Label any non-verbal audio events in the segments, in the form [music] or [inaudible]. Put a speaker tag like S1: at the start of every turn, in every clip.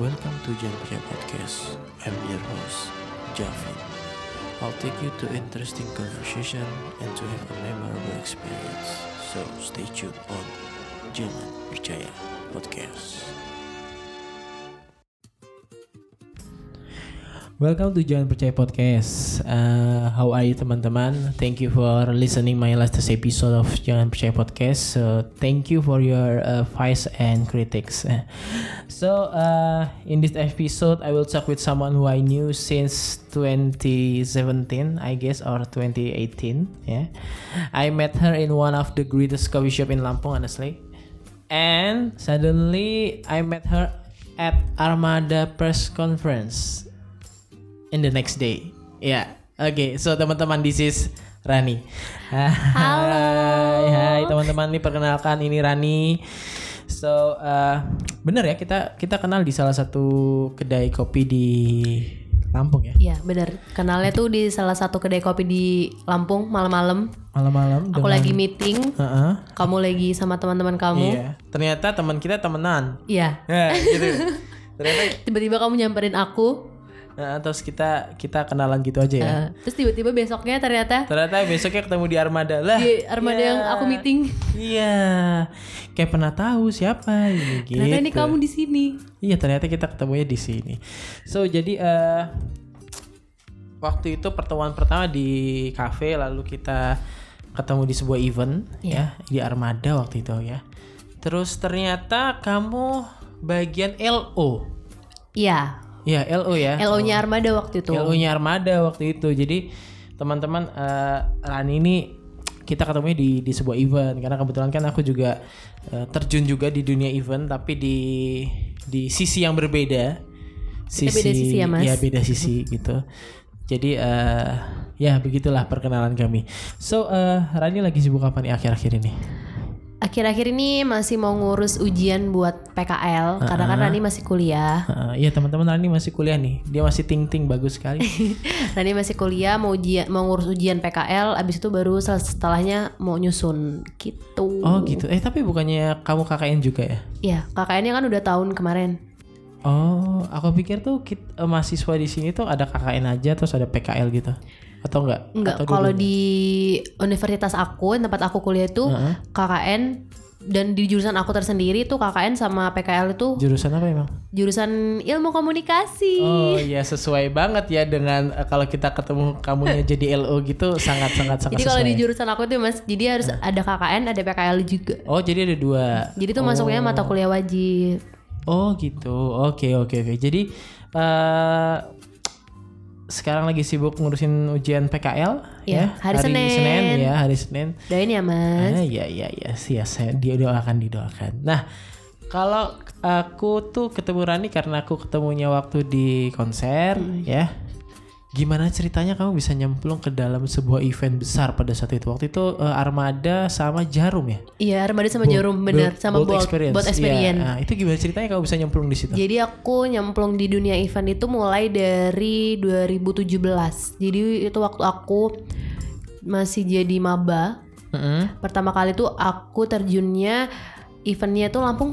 S1: Welcome to Janpria Podcast. I'm your host, Javin. I'll take you to interesting conversation and to have a memorable experience. So stay tuned on Jangan Percaya Podcast. Welcome to Jangan Percaya Podcast. Uh, how are you teman-teman? Thank you for listening my last episode of Jangan Percaya Podcast. So thank you for your uh, advice and critics. Eh. So uh, in this episode, I will talk with someone who I knew since 2017, I guess, or 2018. Yeah, I met her in one of the greatest coffee shop in Lampung, honestly. And suddenly, I met her at Armada press conference in the next day. Yeah. Okay. So teman-teman, this is Rani. Hai, hai teman-teman. Ini perkenalkan ini Rani. So uh, bener ya kita kita kenal di salah satu kedai kopi di Lampung ya.
S2: Iya bener Kenalnya tuh di salah satu kedai kopi di Lampung malam-malam.
S1: Malam-malam.
S2: Aku
S1: dengan-
S2: lagi meeting,
S1: Hmm. Heeh.
S2: kamu lagi sama teman-teman kamu.
S1: Iya. Ternyata teman kita temenan.
S2: Iya.
S1: Ya, gitu. Ternyata
S2: Tiba-tiba kamu nyamperin aku,
S1: nah, terus kita kita kenalan gitu aja ya.
S2: eh, terus tiba-tiba besoknya ternyata
S1: Ternyata besoknya ketemu di Armada lah.
S2: di armada yang aku meeting,
S1: Iya. Kayak pernah tahu siapa ini gitu.
S2: ternyata ini kamu di sini.
S1: Iya ternyata kita ketemunya di sini. So jadi eh waktu itu pertemuan pertama di kafe lalu kita ketemu di sebuah event ya di Armada waktu itu ya. Terus ternyata kamu bagian LO.
S2: Iya.
S1: Ya LO ya.
S2: LO-nya armada waktu itu.
S1: LO-nya Armada waktu itu. Jadi teman-teman eh, Rani ini kita ketemunya di di sebuah event karena kebetulan kan aku juga eh, terjun juga di dunia event tapi di di sisi yang berbeda.
S2: beda sisi ya, Mas.
S1: Iya, beda
S2: [laughs]
S1: sisi gitu. Jadi eh, ya begitulah perkenalan kami. So eh, Rani lagi sibuk apa nih akhir-akhir ini?
S2: Akhir-akhir ini masih mau ngurus ujian buat PKL karena kan Rani masih kuliah.
S1: Eh, Iya teman-teman Rani masih kuliah nih. Dia masih ting-ting bagus sekali.
S2: Rani masih kuliah mau ujian mau ngurus ujian PKL abis itu baru sel- setelahnya mau nyusun gitu.
S1: Oh gitu. Eh tapi bukannya kamu KKN juga ya?
S2: Iya, KKN-nya kan udah tahun kemarin.
S1: Oh, aku pikir tuh kit, eh, mahasiswa di sini tuh ada KKN aja terus ada PKL gitu. Atau enggak?
S2: Enggak,
S1: Atau
S2: kalau
S1: dua-duanya?
S2: di universitas aku, tempat aku kuliah itu
S1: Heeh.
S2: KKN dan di jurusan aku tersendiri tuh KKN sama PKL itu
S1: jurusan apa emang?
S2: jurusan ilmu komunikasi.
S1: Oh iya sesuai banget ya dengan eh, kalau kita ketemu kamunya jadi LO gitu sangat sangat sangat
S2: jadi kalau
S1: sesuai.
S2: di jurusan aku tuh Mas, jadi harus ada KKN, ada PKL juga.
S1: oh, jadi ada dua.
S2: Jadi tuh masuknya mata kuliah wajib.
S1: Oh, gitu. Oke, oke, oke. Jadi eh sekarang lagi sibuk ngurusin ujian PKL
S2: [laughs] Iya,
S1: ya.
S2: hari Senin.
S1: ya, hari Senin.
S2: Doain ya, Mas.
S1: Ah, iya iya iya sia saya dia doakan didoakan. Nah, kalau aku tuh ketemu Rani karena aku ketemunya waktu di konser
S2: Hmm.
S1: ya. Gimana ceritanya kamu bisa nyemplung ke dalam sebuah event besar pada saat itu? Waktu itu eh, Armada sama Jarum ya?
S2: Iya, Armada sama Jarum bener sama
S1: Bold
S2: Bolt
S1: Experience.
S2: Bolt
S1: Iya,
S2: Experience.
S1: nah, itu gimana ceritanya kamu bisa nyemplung di situ?
S2: Jadi aku nyemplung di dunia event itu mulai dari 2017. Jadi itu waktu aku masih jadi maba.
S1: Mm-mm.
S2: Pertama kali tuh aku terjunnya eventnya tuh Lampung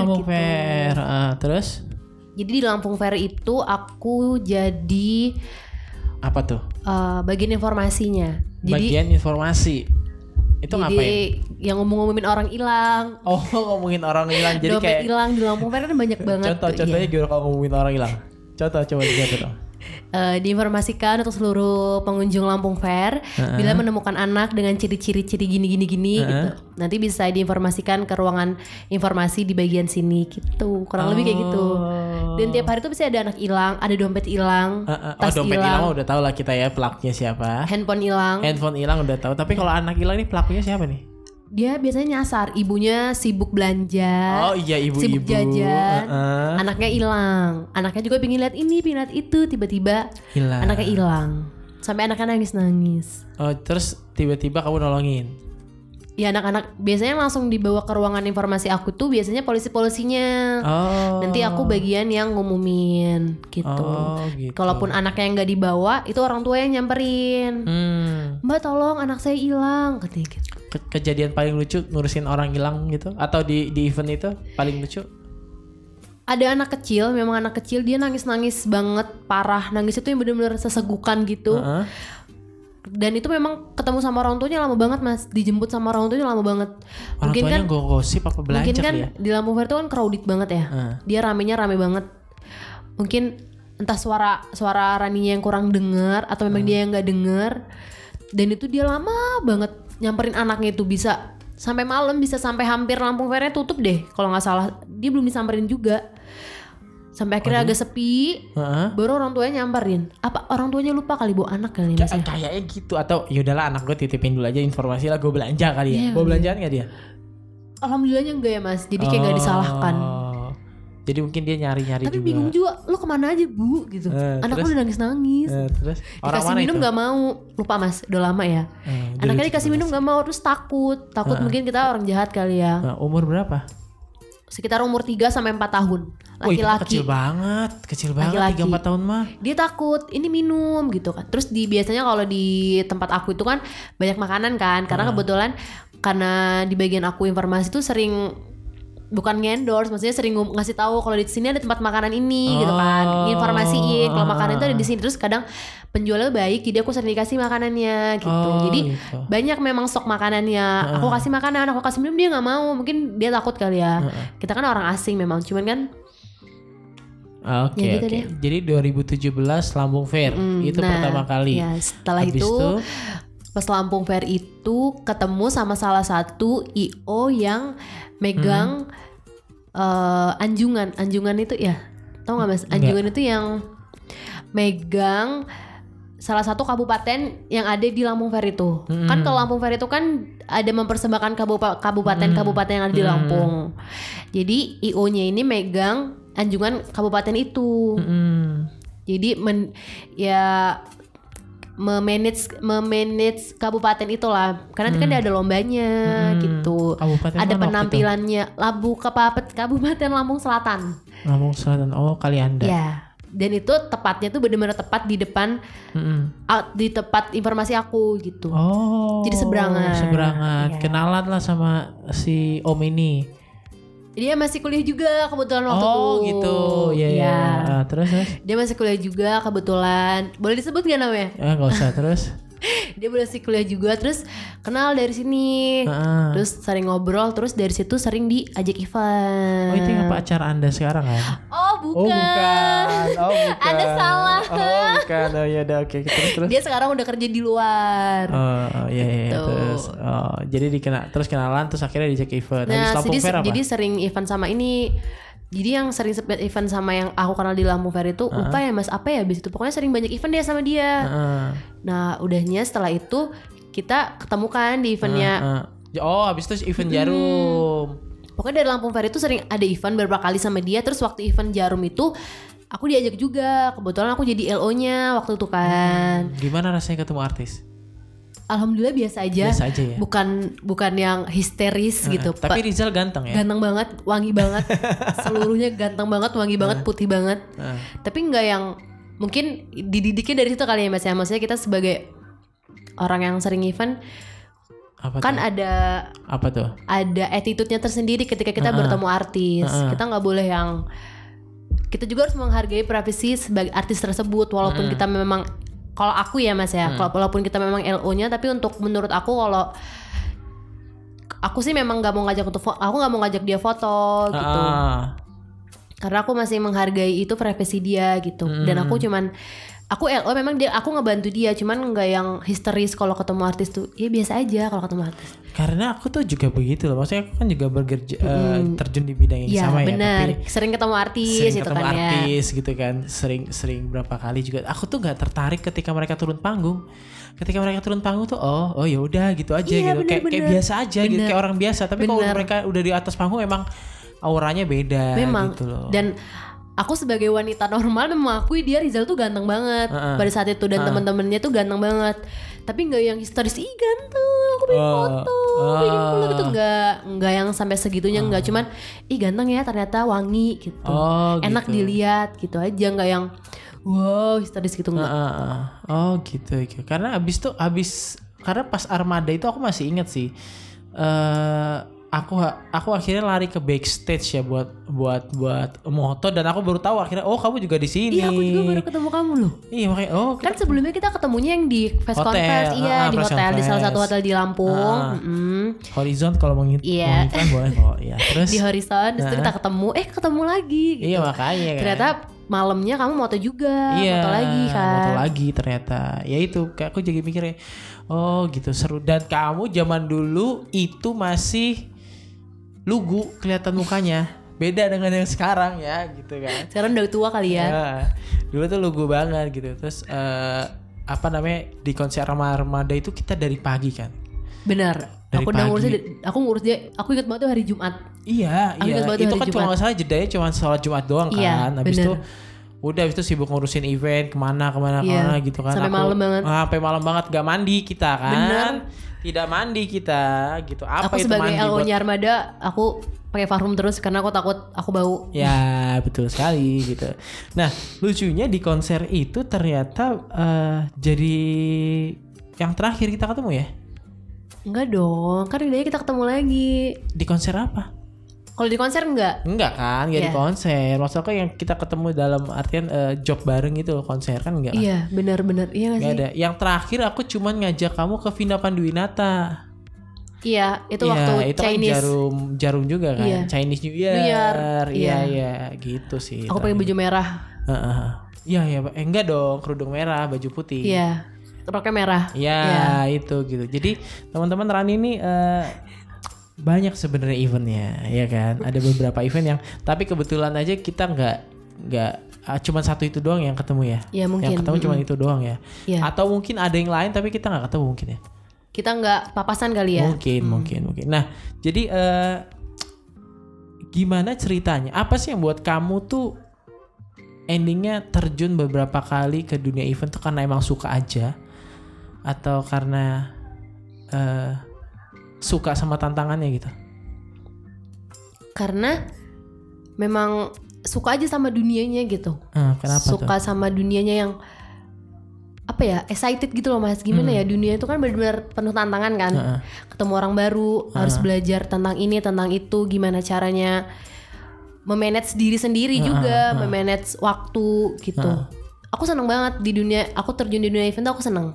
S1: Oh, Lampung
S2: gitu.
S1: Fair. Ah, terus
S2: Jadi di Lampung Fair itu aku jadi
S1: apa tuh?
S2: eh, bagian informasinya. Jadi
S1: Bagian informasi. Itu
S2: jadi
S1: ngapain?
S2: yang ngomong-ngomongin orang hilang,
S1: Oh, [laughs] ngomongin orang hilang. Jadi kayak
S2: dompet hilang di Lampung Fair kan banyak banget.
S1: [laughs] Contoh,
S2: tuh, iya.
S1: contohnya gimana kalau ngomongin orang hilang? Contoh, coba dicontoh dong.
S2: eh, diinformasikan untuk seluruh pengunjung Lampung Fair bila menemukan anak dengan ciri-ciri-ciri gini-gini gini gitu. Nanti bisa diinformasikan ke ruangan informasi di bagian sini gitu. Kurang lebih kayak gitu. Dan tiap hari tuh pasti ada anak hilang, ada dompet hilang,
S1: Eh, eh, oh
S2: tas
S1: dompet hilang
S2: hilang,
S1: mah udah tau lah kita ya pelakunya
S2: [laughs]
S1: siapa.
S2: handphone hilang.
S1: Handphone hilang udah tahu. Tapi kalau anak hilang nih pelakunya siapa nih?
S2: Dia biasanya nyasar, ibunya sibuk belanja.
S1: Oh iya ibu-ibu.
S2: Ah, sibuk jajan.
S1: Eh, eh,
S2: Anaknya hilang, anaknya juga pingin lihat ini, pingin lihat itu, tiba-tiba
S1: hilang.
S2: anaknya hilang, sampai anaknya nangis-nangis.
S1: Oh, terus tiba-tiba kamu nolongin.
S2: Ya anak-anak biasanya langsung dibawa ke ruangan informasi aku tuh biasanya polisi-polisinya.
S1: Oh.
S2: Nanti aku bagian yang ngumumin Ah, gitu.
S1: Oh, gitu.
S2: Kalaupun anaknya yang nggak dibawa, itu orang tua yang nyamperin.
S1: Hmm,
S2: Mbak tolong anak saya hilang katanya gitu.
S1: ke- kejadian paling lucu ngurusin orang hilang gitu atau di di event itu paling lucu?
S2: ada anak kecil, memang anak kecil dia nangis-nangis banget parah. Nangis itu yang bener-bener sesegukan gitu.
S1: Heeh.
S2: Dan itu memang ketemu sama orang tuanya lama banget Mas. Dijemput sama orang tuanya lama banget.
S1: Orang
S2: mungkin
S1: tuanya
S2: kan
S1: go- gosip apa
S2: mungkin
S1: belancak
S2: kan
S1: ya?
S2: di Lampung Fair itu kan crowded banget ya.
S1: Heeh.
S2: Dia ramenya rame banget. Mungkin entah suara suara Raninya yang kurang dengar atau memang dia yang nggak dengar. Dan itu dia lama banget nyamperin anaknya itu bisa sampai malam bisa sampai hampir Lampung Fairnya tutup deh kalau nggak salah dia belum disamperin juga sampai akhirnya agak sepi
S1: Heeh.
S2: baru orang tuanya nyamperin apa orang tuanya lupa kali bawa anak kali
S1: Kay-
S2: mas ya?
S1: kayaknya gitu atau yaudahlah anak gue titipin dulu aja informasi lah gue belanja kali ya.
S2: Iya,
S1: Bawa
S2: iya.
S1: belanjaan gak dia?
S2: alhamdulillahnya enggak ya mas jadi kayak nggak
S1: Oh.
S2: disalahkan
S1: Jadi mungkin dia nyari-nyari
S2: tapi
S1: juga.
S2: bingung juga lo kemana aja bu gitu
S1: Eh,
S2: anak
S1: terus?
S2: lo udah nangis nangis
S1: Eh, terus orang
S2: dikasih
S1: mana
S2: minum
S1: itu?
S2: nggak mau lupa mas udah lama ya
S1: Eh, dia
S2: anaknya
S1: lucu
S2: dikasih
S1: banget
S2: minum
S1: sih. Eh.
S2: nggak mau terus takut takut mungkin kita orang jahat kali ya
S1: Nah, umur berapa?
S2: sekitar umur 3 sampai 4 tahun
S1: Wih, itu mah
S2: laki-laki
S1: kecil banget, kecil banget
S2: Laki-laki.
S1: 3 4 tahun mah.
S2: dia takut ini minum gitu kan terus di biasanya kalau di tempat aku itu kan banyak makanan
S1: Ah.
S2: kan karena kebetulan karena di bagian aku informasi itu sering bukan ngendorse maksudnya sering ngom- ngasih tahu kalau di sini ada tempat makanan ini gitu kan
S1: Oh. Ah.
S2: informasiin kalau makanan itu ada di sini terus kadang penjualnya baik jadi aku sering dikasih makanannya gitu
S1: Oh, Ah.
S2: jadi
S1: gitu.
S2: banyak memang stok makanannya aku kasih makanan aku kasih minum dia nggak mau mungkin dia takut kali
S1: Ah.
S2: ya kita kan orang asing memang cuman kan
S1: Oke,
S2: Ya gitu
S1: oke. Jadi 2017 Lambung Fair itu
S2: nah,
S1: pertama kali.
S2: ya, setelah
S1: Habis
S2: itu,
S1: itu?
S2: pas Lampung Fair itu ketemu sama salah satu IO yang megang eh, anjungan anjungan itu ya tau nggak mas anjungan itu yang megang salah satu kabupaten yang ada di Lampung Fair itu kan kalau Lampung Fair itu kan ada mempersembahkan kabupa- kabupaten-kabupaten yang ada di Lampung jadi IO-nya ini megang anjungan kabupaten itu
S1: Hmm.
S2: jadi men ya memanage memanage kabupaten itulah. Karena nanti kan dia ada lombanya
S1: Hmm.
S2: gitu.
S1: Kabupaten
S2: ada
S1: mana waktu
S2: penampilannya Labu Kapapet Kabupaten Lampung Selatan.
S1: itu? Lampung Selatan. Oh, kali Anda.
S2: Ya. Dan itu tepatnya tuh benar-benar tepat di depan
S1: Mm-mm.
S2: out- di tepat informasi aku gitu.
S1: Oh.
S2: Jadi seberangan.
S1: Seberangan.
S2: Iya.
S1: Kenalan lah sama si Om ini.
S2: Dia masih kuliah juga kebetulan waktu
S1: oh,
S2: itu.
S1: gitu. Iya. iya.
S2: Iya.
S1: Ah, terus terus.
S2: Dia masih kuliah juga kebetulan. Boleh disebut gak namanya?
S1: Eh, enggak usah terus.
S2: Dia masih kuliah juga terus kenal dari sini.
S1: Heeh.
S2: Terus sering ngobrol, terus dari situ sering diajak event.
S1: Oh, itu yang apa acara Anda sekarang kan?
S2: Oh, Eh.
S1: Oh,
S2: bukan.
S1: bukan. Oh, bukan.
S2: Anda salah.
S1: Oh, bukan. Oh, ya udah oke. Terus terus.
S2: Dia sekarang udah kerja di luar.
S1: Oh, oh, iya, iya, iya.
S2: Gitu.
S1: terus oh, jadi dikena terus kenalan terus akhirnya dicek event. Habis
S2: nah,
S1: Lampung
S2: jadi,
S1: Fair apa?
S2: jadi sering event sama ini. Jadi yang sering sempet event sama yang aku kenal di Lampung Fair itu
S1: Ah.
S2: lupa ya Mas apa ya abis itu pokoknya sering banyak event dia sama dia.
S1: Heeh.
S2: Nah, udahnya setelah itu kita ketemukan di eventnya.
S1: Heeh. Oh, habis itu event jarum.
S2: Pokoknya dari Lampung Fair itu sering ada event beberapa kali sama dia. Terus waktu event Jarum itu aku diajak juga. Kebetulan aku jadi LO-nya waktu itu
S1: Hmm.
S2: kan.
S1: Gimana rasanya ketemu artis?
S2: Alhamdulillah biasa aja.
S1: Biasa aja ya.
S2: Bukan bukan yang histeris gitu.
S1: Tapi
S2: Pak.
S1: Rizal ganteng ya.
S2: ganteng banget, wangi banget. Seluruhnya ganteng banget, wangi banget, putih banget.
S1: Heeh.
S2: Tapi nggak yang mungkin dididiknya dari situ kali ya Mas ya. Maksudnya kita sebagai orang yang sering event
S1: apa
S2: kan
S1: tuh?
S2: ada
S1: Apa tuh?
S2: ada attitude-nya tersendiri ketika kita bertemu artis. Kita nggak boleh yang kita juga harus menghargai privasi sebagai artis tersebut walaupun kita memang kalau aku ya Mas ya, kalau- walaupun kita memang LO-nya tapi untuk menurut aku kalau aku sih memang nggak mau ngajak untuk fo- aku nggak mau ngajak dia foto gitu.
S1: Ah,
S2: Karena aku masih menghargai itu privasi dia gitu. Dan aku cuman aku LO memang dia aku ngebantu dia cuman nggak yang histeris kalau ketemu artis tuh. Ya biasa aja kalau ketemu artis.
S1: karena aku tuh juga begitu loh. Maksudnya aku kan juga bekerja eh, terjun di bidang yang
S2: Iya
S1: sama
S2: benar.
S1: ya, tapi
S2: Sering ketemu artis
S1: sering
S2: gitu
S1: ketemu
S2: kan ya.
S1: artis gitu kan. Sering sering berapa kali juga. Aku tuh nggak tertarik ketika mereka turun panggung. Ketika mereka turun panggung tuh oh oh ya udah gitu aja
S2: Iya,
S1: gitu.
S2: bener,
S1: kayak kayak
S2: bener.
S1: biasa aja gitu,
S2: Bener.
S1: kayak orang biasa. Tapi kalau
S2: Bener.
S1: mereka udah di atas panggung emang auranya beda
S2: Memang.
S1: gitu loh.
S2: Dan aku sebagai wanita normal mengakui dia Rizal tuh ganteng banget
S1: Heeh.
S2: pada saat itu dan teman-temannya tuh ganteng banget. Tapi nggak yang histeris ih ganteng, aku pengen
S1: Oh.
S2: foto, pengen pulang gitu
S1: Ah.
S2: nggak nggak yang sampai segitunya nggak cuman ih ganteng ya ternyata wangi gitu.
S1: Oh,
S2: Enak
S1: gitu.
S2: dilihat gitu aja nggak yang wow histeris gitu nggak.
S1: Ah, ah, ah. Oh gitu, oke. Karena abis tuh abis karena pas armada itu aku masih inget sih. eh aku aku akhirnya lari ke backstage ya buat buat buat moto dan aku baru tahu akhirnya oh kamu juga di sini.
S2: Iya, aku juga baru ketemu kamu loh.
S1: Iya makanya oh
S2: Kan sebelumnya kita ketemunya yang di press
S1: Hotel,
S2: conference,
S1: ah,
S2: iya di
S1: press
S2: hotel di salah satu
S1: conference.
S2: hotel di Lampung.
S1: Ah.
S2: Mm-mm.
S1: horizon kalau mau ngit-
S2: Iya.
S1: mau ngiklan boleh kok.
S2: [laughs]
S1: Iya. Terus
S2: Di Horizon, terus
S1: Ah.
S2: kita ketemu, eh ketemu lagi. Gitu.
S1: iya makanya kan.
S2: Ternyata malamnya kamu moto juga,
S1: Iya,
S2: moto lagi kan.
S1: moto lagi ternyata. Ya itu, kayak aku jadi mikirnya, oh gitu seru. Dan kamu zaman dulu itu masih lugu kelihatan mukanya, beda dengan yang sekarang ya, gitu kan.
S2: Sekarang udah tua kali ya.
S1: Ya, dulu tuh lugu banget gitu. Terus eh, apa namanya di konser Rama Armada itu kita dari pagi kan.
S2: Benar.
S1: Dari
S2: aku udah
S1: pagi.
S2: ngurus dia, aku ngurus dia, aku ingat banget tuh hari Jumat.
S1: Iya,
S2: Aku
S1: iya.
S2: ingat banget
S1: Itu
S2: hari
S1: kan
S2: Jumat.
S1: cuma nggak salah jedanya cuma sholat Jumat doang kan.
S2: Iya,
S1: habis
S2: bener.
S1: itu udah habis itu sibuk ngurusin event kemana kemana
S2: Iya,
S1: kemana gitu kan.
S2: sampai
S1: Aku-
S2: malam banget.
S1: Ah, sampai malam banget gak mandi kita kan.
S2: Bener.
S1: Tidak mandi kita gitu. Apa
S2: aku
S1: itu
S2: sebagai
S1: mandi buat-
S2: LO-nya Armada, aku pakai parfum terus karena aku takut aku bau.
S1: Ya betul sekali gitu. Nah lucunya di konser itu ternyata eh, jadi yang terakhir kita ketemu ya
S2: Enggak dong, kan bedanya kita ketemu lagi.
S1: di konser apa?
S2: Kalau di konser enggak?
S1: Enggak kan, ya di
S2: Iya.
S1: konser. Maksudnya yang kita ketemu dalam artian eh, job bareng itu konser kan enggak? kan?
S2: Iya, benar-benar. Iya gak
S1: Gak
S2: sih?
S1: ada. Yang terakhir aku cuman ngajak kamu ke Vina Panduwinata.
S2: Iya, itu
S1: Iya,
S2: waktu
S1: itu kan
S2: Chinese.
S1: jarum jarum juga kan.
S2: Iya.
S1: Chinese New Year.
S2: New Year,
S1: Iya
S2: iya.
S1: iya gitu sih.
S2: aku pakai baju merah.
S1: Heeh, heeh. Iya iya Pak. eh, enggak dong kerudung merah baju putih.
S2: Iya. Roknya merah.
S1: Iya, itu gitu. Jadi teman-teman Rani ini eh, banyak sebenarnya eventnya, ya kan? Ada beberapa event yang, tapi kebetulan aja kita nggak nggak ah, cuman satu itu doang yang ketemu ya.
S2: Iya, mungkin.
S1: Yang ketemu cuma itu doang ya.
S2: Iya.
S1: Atau mungkin ada yang lain tapi kita nggak ketemu mungkin ya.
S2: Kita enggak papasan kali ya.
S1: Mungkin, mungkin, mungkin. Nah, jadi eh, gimana ceritanya? Apa sih yang buat kamu tuh endingnya terjun beberapa kali ke dunia event tuh karena emang suka aja atau karena eh, suka sama tantangannya gitu?
S2: Karena memang suka aja sama dunianya gitu.
S1: Eh, kenapa tuh?
S2: suka sama dunianya yang apa ya excited gitu loh mas gimana ya dunia itu kan benar-benar penuh tantangan kan
S1: Hmm. Heeh.
S2: ketemu orang baru harus belajar tentang ini tentang itu gimana caranya memanage diri sendiri juga memanage waktu gitu aku seneng banget di dunia aku terjun di dunia event tuh aku seneng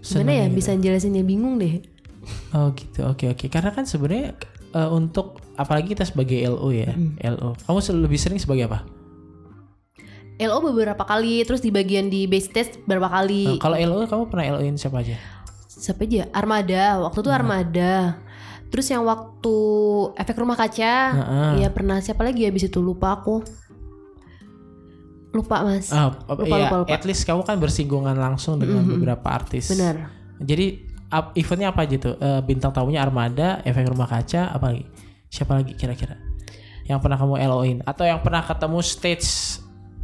S2: gimana ya bisa jelasinnya bingung deh
S1: Oh gitu, oke oke. Karena kan sebenarnya eh, untuk apalagi kita sebagai LO ya, LO. Kamu sel- lebih sering sebagai apa?
S2: LO beberapa kali terus di bagian di base test beberapa
S1: Eh,
S2: kali
S1: Kalau LO kamu pernah LO-in siapa aja?
S2: siapa aja ya? Armada waktu itu Armada terus yang waktu efek rumah kaca
S1: Heeh.
S2: Iya pernah siapa lagi ya abis itu lupa aku lupa mas
S1: Ah,
S2: Lupa,
S1: iya,
S2: lupa, lupa.
S1: at least kamu kan bersinggungan langsung dengan beberapa artis.
S2: benar
S1: Jadi ap- eventnya apa aja tuh? Eh, bintang tamunya Armada, efek rumah kaca, apa lagi? Siapa lagi kira-kira? Yang pernah kamu LO-in atau yang pernah ketemu stage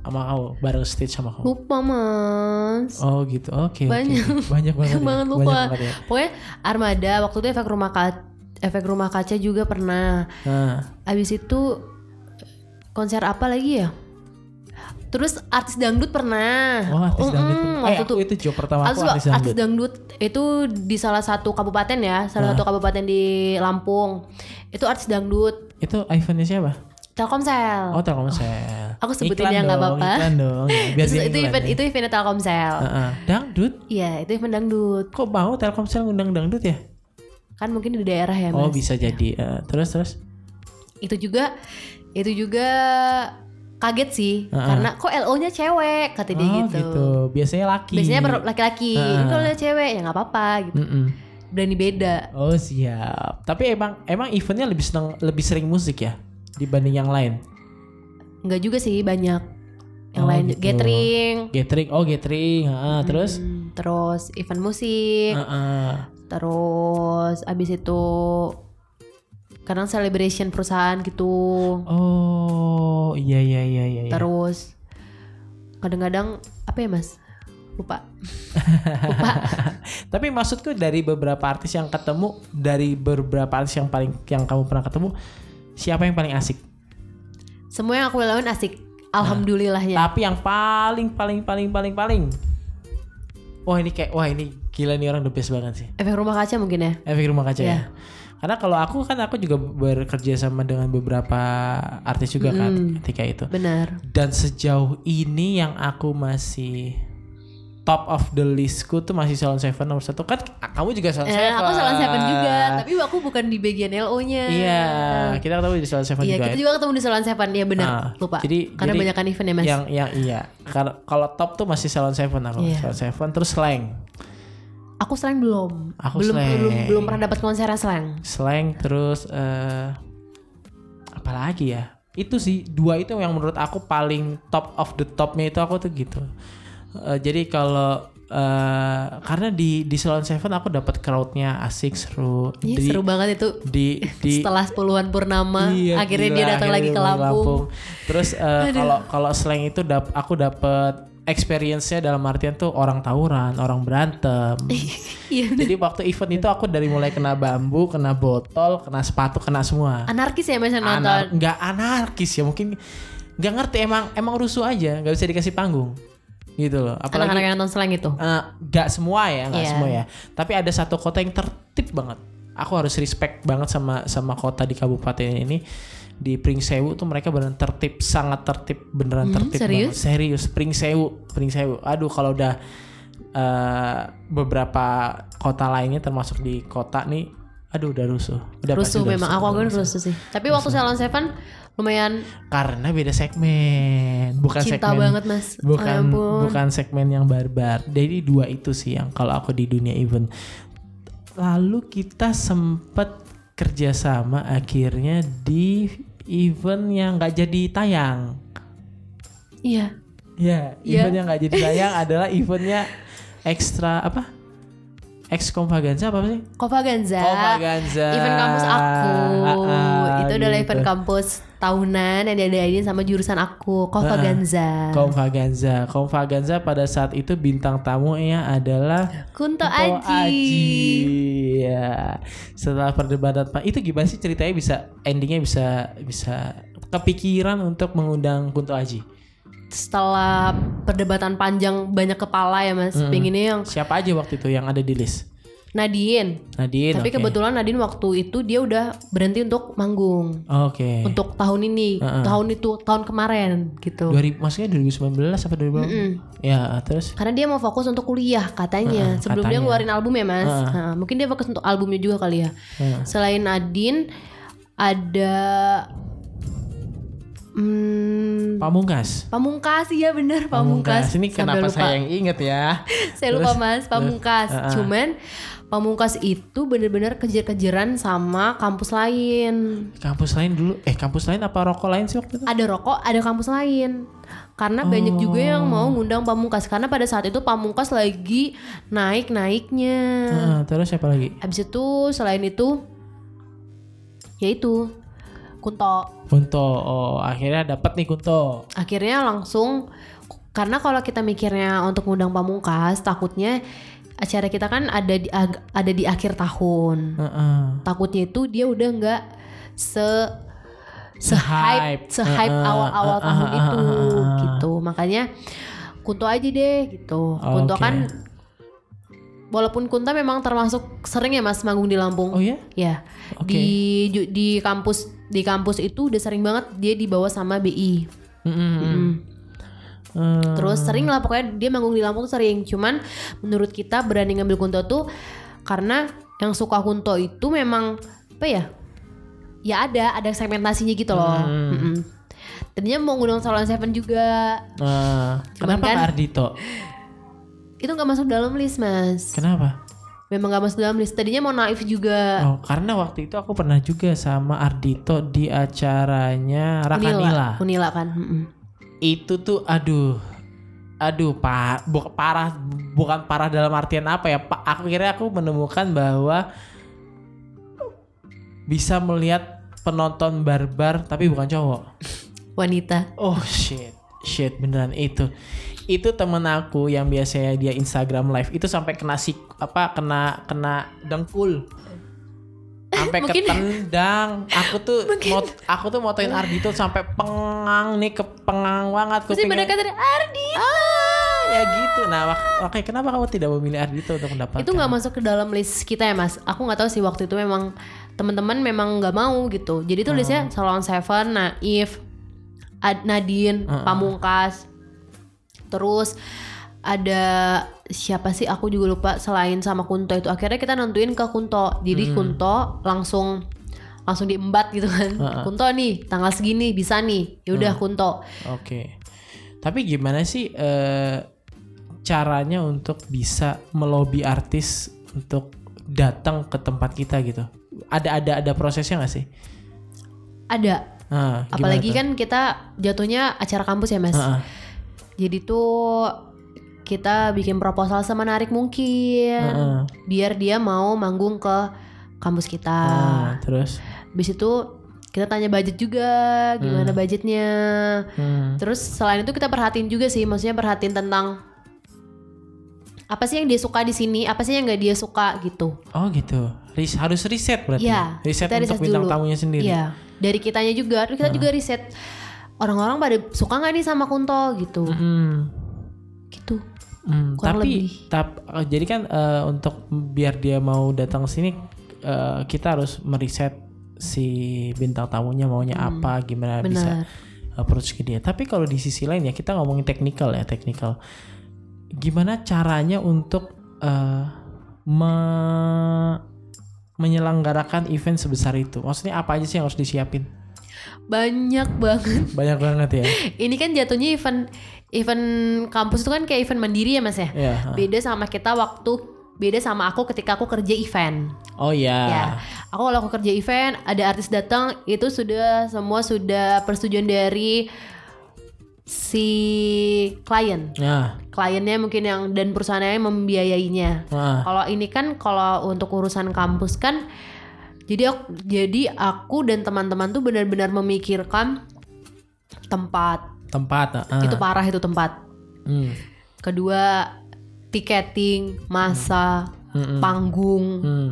S1: sama kamu, bareng stage sama kamu?
S2: lupa mas
S1: Oh gitu, oke. oke.
S2: Banyak.
S1: Banyak
S2: [laughs]
S1: banget. ya.
S2: banget
S1: Banyak
S2: lupa
S1: banget ya.
S2: pokoknya Armada waktu itu efek rumah kaca efek rumah kaca juga pernah
S1: Nah,
S2: abis itu konser apa lagi ya terus artis dangdut pernah
S1: oh artis
S2: Mm-mm,
S1: dangdut. Eh,
S2: waktu
S1: aku
S2: itu
S1: itu job pertama
S2: Artis,
S1: aku artis
S2: artis
S1: dangdut.
S2: dangdut itu di salah satu kabupaten ya, salah satu kabupaten di Lampung. Itu artis dangdut
S1: Itu eventnya siapa?
S2: Telkomsel.
S1: Oh, Telkomsel.
S2: Aku sebutin
S1: Iklan
S2: ya, nggak
S1: dong,
S2: apa-apa.
S1: Iklan
S2: [laughs]
S1: dong. Ya, Biar
S2: itu
S1: dia
S2: itu
S1: iklan
S2: event
S1: ya.
S2: itu eventnya Telkomsel.
S1: Heeh. Dangdut?
S2: Iya, itu event dangdut.
S1: Kok mau Telkomsel ngundang dangdut ya?
S2: Kan mungkin di daerah ya,
S1: Oh
S2: Mas.
S1: bisa jadi Eh, terus terus.
S2: Itu juga itu juga kaget sih karena kok LO-nya cewek kata dia
S1: oh
S2: gitu.
S1: Biasanya laki.
S2: Biasanya per- laki-laki, ini kalau dia cewek ya nggak apa-apa gitu.
S1: Mm-mm.
S2: Berani beda.
S1: Oh siap. Tapi emang emang eventnya lebih seneng lebih sering musik ya dibanding yang lain.
S2: Nggak juga sih banyak yang
S1: Oh,
S2: lain
S1: gitu.
S2: gathering,
S1: Gathering, oh gathering. Ah, Terus.
S2: hmm, terus event musik,
S1: Heeh.
S2: terus abis itu kadang celebration perusahaan gitu
S1: Oh iya iya iya iya. iya.
S2: terus kadang-kadang apa ya mas
S1: [laughs]
S2: lupa lupa
S1: Tapi maksudku dari beberapa artis yang ketemu dari beberapa artis yang paling yang kamu pernah ketemu siapa yang paling asik?
S2: semua yang aku lakuin asik
S1: Nah.
S2: ya. alhamdulillahnya
S1: Tapi yang paling paling paling paling paling. Wah ini kayak wah ini gila nih orang the best banget sih.
S2: efek rumah kaca mungkin ya
S1: Efek rumah kaca
S2: Iya.
S1: ya. Karena kalau aku kan aku juga bekerja sama dengan beberapa artis juga kan ketika itu.
S2: benar
S1: Dan sejauh ini yang aku masih top of the listku tuh masih Salon Seven nomor satu kan kamu juga Salon
S2: eh,
S1: Seven.
S2: aku salah seven juga tapi aku bukan di bagian LO nya
S1: Iya, kita ketemu di Salon Seven
S2: Iya,
S1: juga.
S2: kita
S1: ya.
S2: juga ketemu di Salon Seven ya benar
S1: Ah,
S2: lupa.
S1: jadi-
S2: Karena
S1: jadi
S2: banyak kan event ya mas.
S1: Yang yang iya. Kalau kalau top tuh masih Salon Seven aku.
S2: Iya.
S1: Salon Seven terus slang.
S2: aku slang belum,
S1: Aku
S2: belum,
S1: slang.
S2: belum belum pernah dapat konser slang.
S1: slang terus eh apa lagi ya itu sih dua itu yang menurut aku paling top of the topnya itu aku tuh gitu Eh, jadi kalau eh karena di di Salon Seven aku dapat crowdnya asik seru
S2: Iya
S1: di,
S2: seru banget itu.
S1: di di
S2: [laughs] Setelah puluhan purnama,
S1: Iya,
S2: akhirnya
S1: gila,
S2: dia
S1: akhirnya
S2: datang lagi
S1: dia
S2: ke
S1: datang
S2: Lampung.
S1: Terus eh, kalau kalau slang itu dap, aku dapat experience-nya dalam artian tuh orang tawuran, orang berantem.
S2: [laughs] Iya, bener.
S1: Jadi waktu event itu aku dari mulai kena bambu, kena botol, kena sepatu, kena semua.
S2: anarkis ya mas yang
S1: Anar-
S2: nonton.
S1: nggak anarkis ya mungkin nggak ngerti emang emang rusuh aja, nggak bisa dikasih panggung gitu loh.
S2: Anak-anak
S1: Apalagi
S2: yang nonton slang itu.
S1: eh, nggak semua ya, nggak
S2: Iya.
S1: semua ya. Tapi ada satu kota yang tertib banget. Aku harus respect banget sama sama kota di kabupaten ini di Pringsewu tuh mereka beneran tertib, sangat tertib, beneran
S2: Hmm,
S1: tertib banget.
S2: serius?
S1: Serius, Pringsewu, Pringsewu. Aduh kalau udah eh, beberapa kota lainnya termasuk di kota nih, aduh udah rusuh. Udah pasti
S2: Rusuh
S1: udah
S2: memang. Aku
S1: udah
S2: aku rusuh sih. Tapi waktu Salon Seven lumayan
S1: karena beda segmen bukan
S2: cinta
S1: segmen
S2: banget mas.
S1: bukan
S2: Ya ampun.
S1: bukan segmen yang barbar jadi dua itu sih yang kalau aku di dunia event lalu kita sempet kerjasama akhirnya di event yang nggak jadi tayang
S2: Iya.
S1: ya
S2: Ya.
S1: event yang nggak jadi
S2: [laughs]
S1: tayang adalah eventnya ekstra apa Extravaganza apa sih?
S2: Kopaganza.
S1: Extravaganza.
S2: Ya, Event kampus aku.
S1: Ah,
S2: itu adalah
S1: gitu.
S2: event kampus tahunan yang diadain sama jurusan aku,
S1: Ah,
S2: Kopaganza.
S1: Konvaganza. Konvaganza pada saat itu bintang tamunya adalah
S2: Kunto
S1: Ko Aji.
S2: Aji.
S1: Ya. Setelah perdebatan Pak, itu gimana sih ceritanya bisa endingnya bisa bisa kepikiran untuk mengundang Kunto Aji.
S2: Setelah perdebatan panjang banyak kepala ya Mas, pengennya yang
S1: Siapa aja waktu itu yang ada di list?
S2: Nadine.
S1: Nadine.
S2: Tapi
S1: oke.
S2: kebetulan Nadine waktu itu dia udah berhenti untuk manggung.
S1: Oke. Ah,
S2: Untuk tahun ini, tahun itu, tahun kemarin gitu.
S1: 2000 maksudnya 2019 apa 2020? Ya, terus
S2: Karena dia mau fokus untuk kuliah katanya. Sebelum dia ngeluarin album ya mas. Nah, mungkin dia fokus untuk albumnya juga kali ya. Selain Nadine ada hmm,
S1: Pamungkas.
S2: Pamungkas ya bener Pamungkas.
S1: Ini
S2: Sampai
S1: kenapa
S2: lupa.
S1: saya yang inget ya?
S2: [laughs] Saya lupa mas Pamungkas. Cuman Pamungkas itu bener-bener kejar-kejaran sama kampus lain.
S1: Kampus lain dulu. Eh, kampus lain apa rokok lain sih waktu itu?
S2: Ada rokok, ada kampus lain. Karena banyak juga yang
S1: Oh.
S2: mau ngundang Pamungkas karena pada saat itu Pamungkas lagi naik-naiknya.
S1: Ah, terus siapa lagi?
S2: Habis itu selain itu yaitu Kunto
S1: Kunto, oh, akhirnya dapat nih Kunto.
S2: akhirnya langsung karena kalau kita mikirnya untuk ngundang pamungkas takutnya acara kita kan ada di ag- ada di akhir tahun
S1: Heeh.
S2: takutnya itu dia udah nggak se se
S1: Se-hype. Uh,
S2: hype se hype
S1: Heeh,
S2: awal-awal
S1: heeh,
S2: tahun
S1: heeh,
S2: itu
S1: heeh, heeh.
S2: gitu makanya Kunto aja deh gitu Kunto
S1: Oke.
S2: kan walaupun Kunto memang termasuk sering ya mas manggung di Lampung
S1: Oh ya?
S2: Ya,
S1: Oke.
S2: di ju- di kampus di kampus itu udah sering banget dia dibawa sama BI.
S1: Mm-mm.
S2: Mm.
S1: Eh,
S2: Terus sering lah pokoknya dia manggung di Lampung tuh sering. Cuman menurut kita berani ngambil Kunto tuh karena yang suka Kunto itu memang apa ya? Ya ada, ada segmentasinya gitu loh. Mm-mm. Tadinya mau ngundang Salon Seven juga.
S1: eh,
S2: Cuman
S1: kenapa
S2: kan-
S1: Pak Ardito?
S2: Itu nggak masuk dalam list, Mas.
S1: Kenapa?
S2: Memang nggak masuk dalam list. Tadinya mau Naif juga.
S1: Oh, karena waktu itu aku pernah juga sama Ardito di acaranya
S2: Unila,
S1: Rakanila.
S2: Unila kan. Mm-mm.
S1: Itu tuh aduh. Aduh, Pak, parah bukan parah dalam artian apa ya, Pak. Aku kira aku menemukan bahwa bisa melihat penonton barbar tapi bukan cowok.
S2: Wanita.
S1: Oh shit, shit beneran itu. Itu temen aku yang biasanya dia Instagram live itu sampai kena sik apa kena kena dengkul. Sampai
S2: Eh, Mungkin-
S1: ketendang. Aku tuh mot, aku tuh motoin Ardi tuh sampai pengang nih ke pengang banget
S2: Terus
S1: kupingnya.
S2: mereka tadi Ardi. Ah.
S1: ya gitu. Nah, wak- oke, kenapa kamu tidak memilih Ardito untuk mendapatkan?
S2: itu nggak masuk ke dalam list kita ya mas aku nggak tahu sih waktu itu memang teman-teman memang nggak mau gitu jadi
S1: Hmm.
S2: tuh listnya Salon Seven Naif Ad- Nadine
S1: Hmm.
S2: Pamungkas terus ada siapa sih aku juga lupa selain sama Kunto itu akhirnya kita nentuin ke Kunto jadi
S1: Hmm.
S2: Kunto langsung langsung diembat gitu kan
S1: Hmm.
S2: Kunto nih tanggal segini bisa nih yaudah Kunto
S1: Oke. Tapi gimana sih eh, caranya untuk bisa melobi artis untuk datang ke tempat kita gitu? Ada ada ada prosesnya nggak sih?
S2: ada
S1: Ah, gimana
S2: Apalagi
S1: tuh? Ah,
S2: kan kita jatuhnya acara kampus ya mas.
S1: Heeh.
S2: Jadi tuh kita bikin proposal semenarik mungkin,
S1: Heeh.
S2: biar dia mau manggung ke kampus kita.
S1: Ah, terus.
S2: Habis itu kita tanya budget juga, gimana budgetnya.
S1: Hmm.
S2: Terus selain itu kita perhatiin juga sih, maksudnya perhatiin tentang apa sih yang dia suka di sini, apa sih yang nggak dia suka gitu.
S1: Oh gitu. Ris- harus riset berarti.
S2: Iya,
S1: riset
S2: kita
S1: untuk
S2: riset
S1: bintang
S2: dulu.
S1: tamunya sendiri.
S2: Iya, dari kitanya juga, terus kita juga riset orang-orang pada suka nggak nih sama Kunto gitu,
S1: Hmm.
S2: gitu.
S1: Hmm,
S2: Kurang
S1: tapi
S2: lebih.
S1: tap- eh, jadi kan eh, untuk biar dia mau datang sini eh, kita harus meriset si bintang tamunya maunya apa, gimana bisa
S2: Hmm. Benar.
S1: approach ke dia. Tapi kalau di sisi lain ya kita ngomongin teknikal ya, teknikal. Gimana caranya untuk eh, me- menyelenggarakan event sebesar itu? Maksudnya apa aja sih yang harus disiapin?
S2: Banyak banget.
S1: [coughs] Banyak banget [coughs] ya.
S2: Ini kan jatuhnya event event kampus itu kan kayak event mandiri ya Mas ya.
S1: Iya. ha.
S2: Beda sama kita waktu beda sama aku ketika aku kerja event.
S1: Oh ya.
S2: Ya. Aku kalau aku kerja event, ada artis datang, itu sudah semua sudah persetujuan dari si klien.
S1: Nah,
S2: Kliennya mungkin yang dan perusahaannya yang membiayainya.
S1: nah.
S2: Kalau ini kan kalau untuk urusan kampus kan jadi aku, jadi aku dan teman-teman tuh benar-benar memikirkan tempat.
S1: tempat. Nah, ah.
S2: Itu parah itu tempat.
S1: Hmm.
S2: Kedua tiketing, masa,
S1: Mm-mm.
S2: panggung,
S1: Hmm.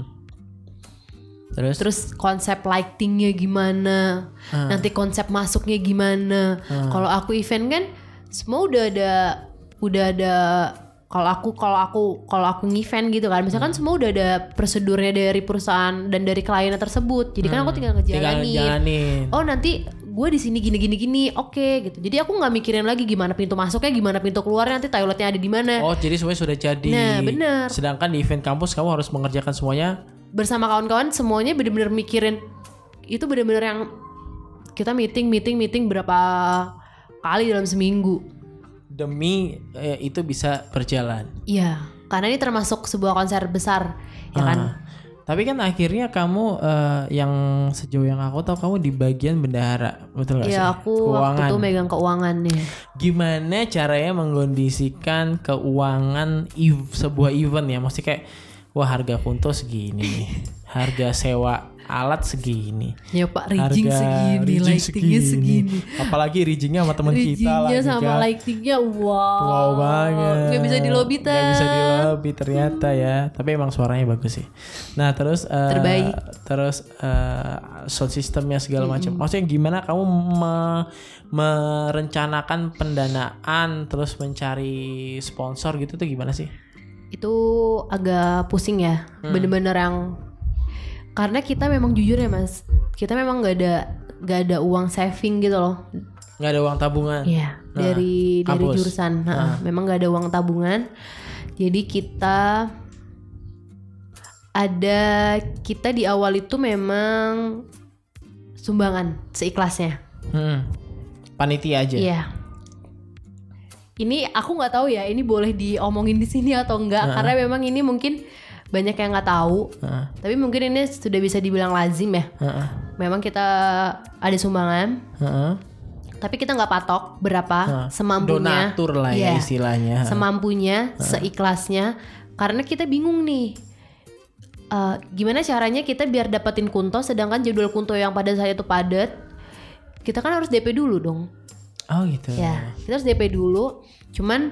S1: Terus?
S2: terus konsep lightingnya gimana,
S1: Ah.
S2: nanti konsep masuknya gimana. Kalau aku event kan semua udah ada udah ada kalau aku kalau aku kalau aku event gitu kan,
S1: Hmm.
S2: misalkan semua udah ada prosedurnya dari perusahaan dan dari kliennya tersebut. Jadi kan aku tinggal
S1: Hmm. tinggal
S2: ngejalanin.
S1: jalanin.
S2: Oh nanti gue di sini gini gini gini, oke gitu. Jadi aku nggak mikirin lagi gimana pintu masuknya, gimana pintu keluarnya, nanti toiletnya ada di mana.
S1: Oh, jadi semuanya sudah jadi.
S2: Nah, benar.
S1: Sedangkan di event kampus kamu harus mengerjakan semuanya.
S2: bersama kawan-kawan semuanya bener-bener mikirin itu bener-bener yang kita meeting meeting meeting berapa kali dalam seminggu
S1: demi eh, itu bisa berjalan.
S2: iya karena ini termasuk sebuah konser besar ya kan
S1: Ah. Tapi kan akhirnya kamu eh, yang sejauh yang aku tahu kamu di bagian bendahara, betul nggak sih?
S2: ya aku
S1: keuangan.
S2: waktu itu megang keuangannya
S1: Gimana caranya mengkondisikan keuangan ev- sebuah event ya? Mesti kayak wah harga kunto segini,
S2: [laughs]
S1: nih. harga sewa alat segini.
S2: ya pak rigging
S1: harga
S2: segini
S1: rigging
S2: lightingnya segini
S1: Apalagi riggingnya sama teman kita
S2: riggingnya
S1: lagi
S2: sama
S1: kan.
S2: lightingnya wow
S1: Wow banget.
S2: Oh, nggak bisa di lobby
S1: Nggak bisa di
S2: Tan.
S1: lobby ternyata ya. Tapi emang suaranya bagus sih. Nah terus eh,
S2: Terbaik.
S1: Terus eh, sound systemnya segala macam. Maksudnya gimana kamu me- merencanakan pendanaan, terus mencari sponsor gitu tuh gimana sih?
S2: itu agak pusing ya
S1: Hmm.
S2: bener-bener yang karena kita memang jujur ya mas kita memang nggak ada nggak ada uang saving gitu loh
S1: Nggak ada uang tabungan.
S2: Iya
S1: Nah,
S2: dari dari
S1: kampus.
S2: jurusan Nah, memang nggak ada uang tabungan jadi kita ada kita di awal itu memang sumbangan seikhlasnya
S1: Hmm. Panitia aja.
S2: Iya. Ini aku nggak tahu ya, ini boleh diomongin di sini atau enggak karena memang ini mungkin banyak yang nggak tahu.
S1: Heeh.
S2: Tapi mungkin ini sudah bisa dibilang lazim ya.
S1: Heeh.
S2: Memang kita ada sumbangan,
S1: Heeh.
S2: tapi kita nggak patok berapa semampunya.
S1: Donatur lah ya
S2: Iya.
S1: istilahnya.
S2: Semampunya, seikhlasnya karena kita bingung nih. Eh, gimana caranya kita biar dapetin kunto sedangkan jadwal kunto yang pada saat itu padat kita kan harus DP dulu dong
S1: oh gitu.
S2: Ya, kita harus DP dulu. Cuman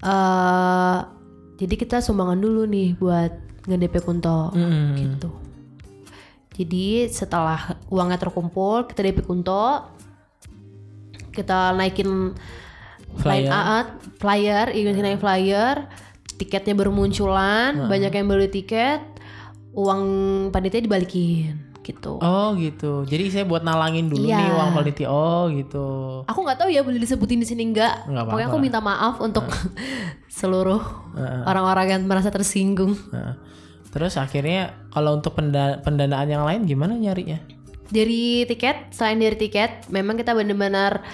S2: eh jadi kita sumbangan dulu nih buat nge-DP Kunto
S1: Mm-mm.
S2: gitu. Jadi setelah uangnya terkumpul, kita DP Kunto, kita naikin
S1: Flyer.
S2: line out, flyer, event line flyer, tiketnya bermunculan, banyak yang beli tiket, uang panitia dibalikin gitu.
S1: Oh gitu. Jadi saya buat nalangin dulu
S2: Iya.
S1: nih uang panitia. Oh gitu.
S2: Aku nggak tahu ya boleh disebutin di sini nggak.
S1: Nggak apa-apa
S2: Pokoknya aku
S1: lah.
S2: minta maaf untuk [laughs] seluruh orang-orang yang merasa tersinggung.
S1: Nah, terus akhirnya kalau untuk penda- pendanaan yang lain gimana nyarinya?
S2: Dari tiket, selain dari tiket, memang kita benar-benar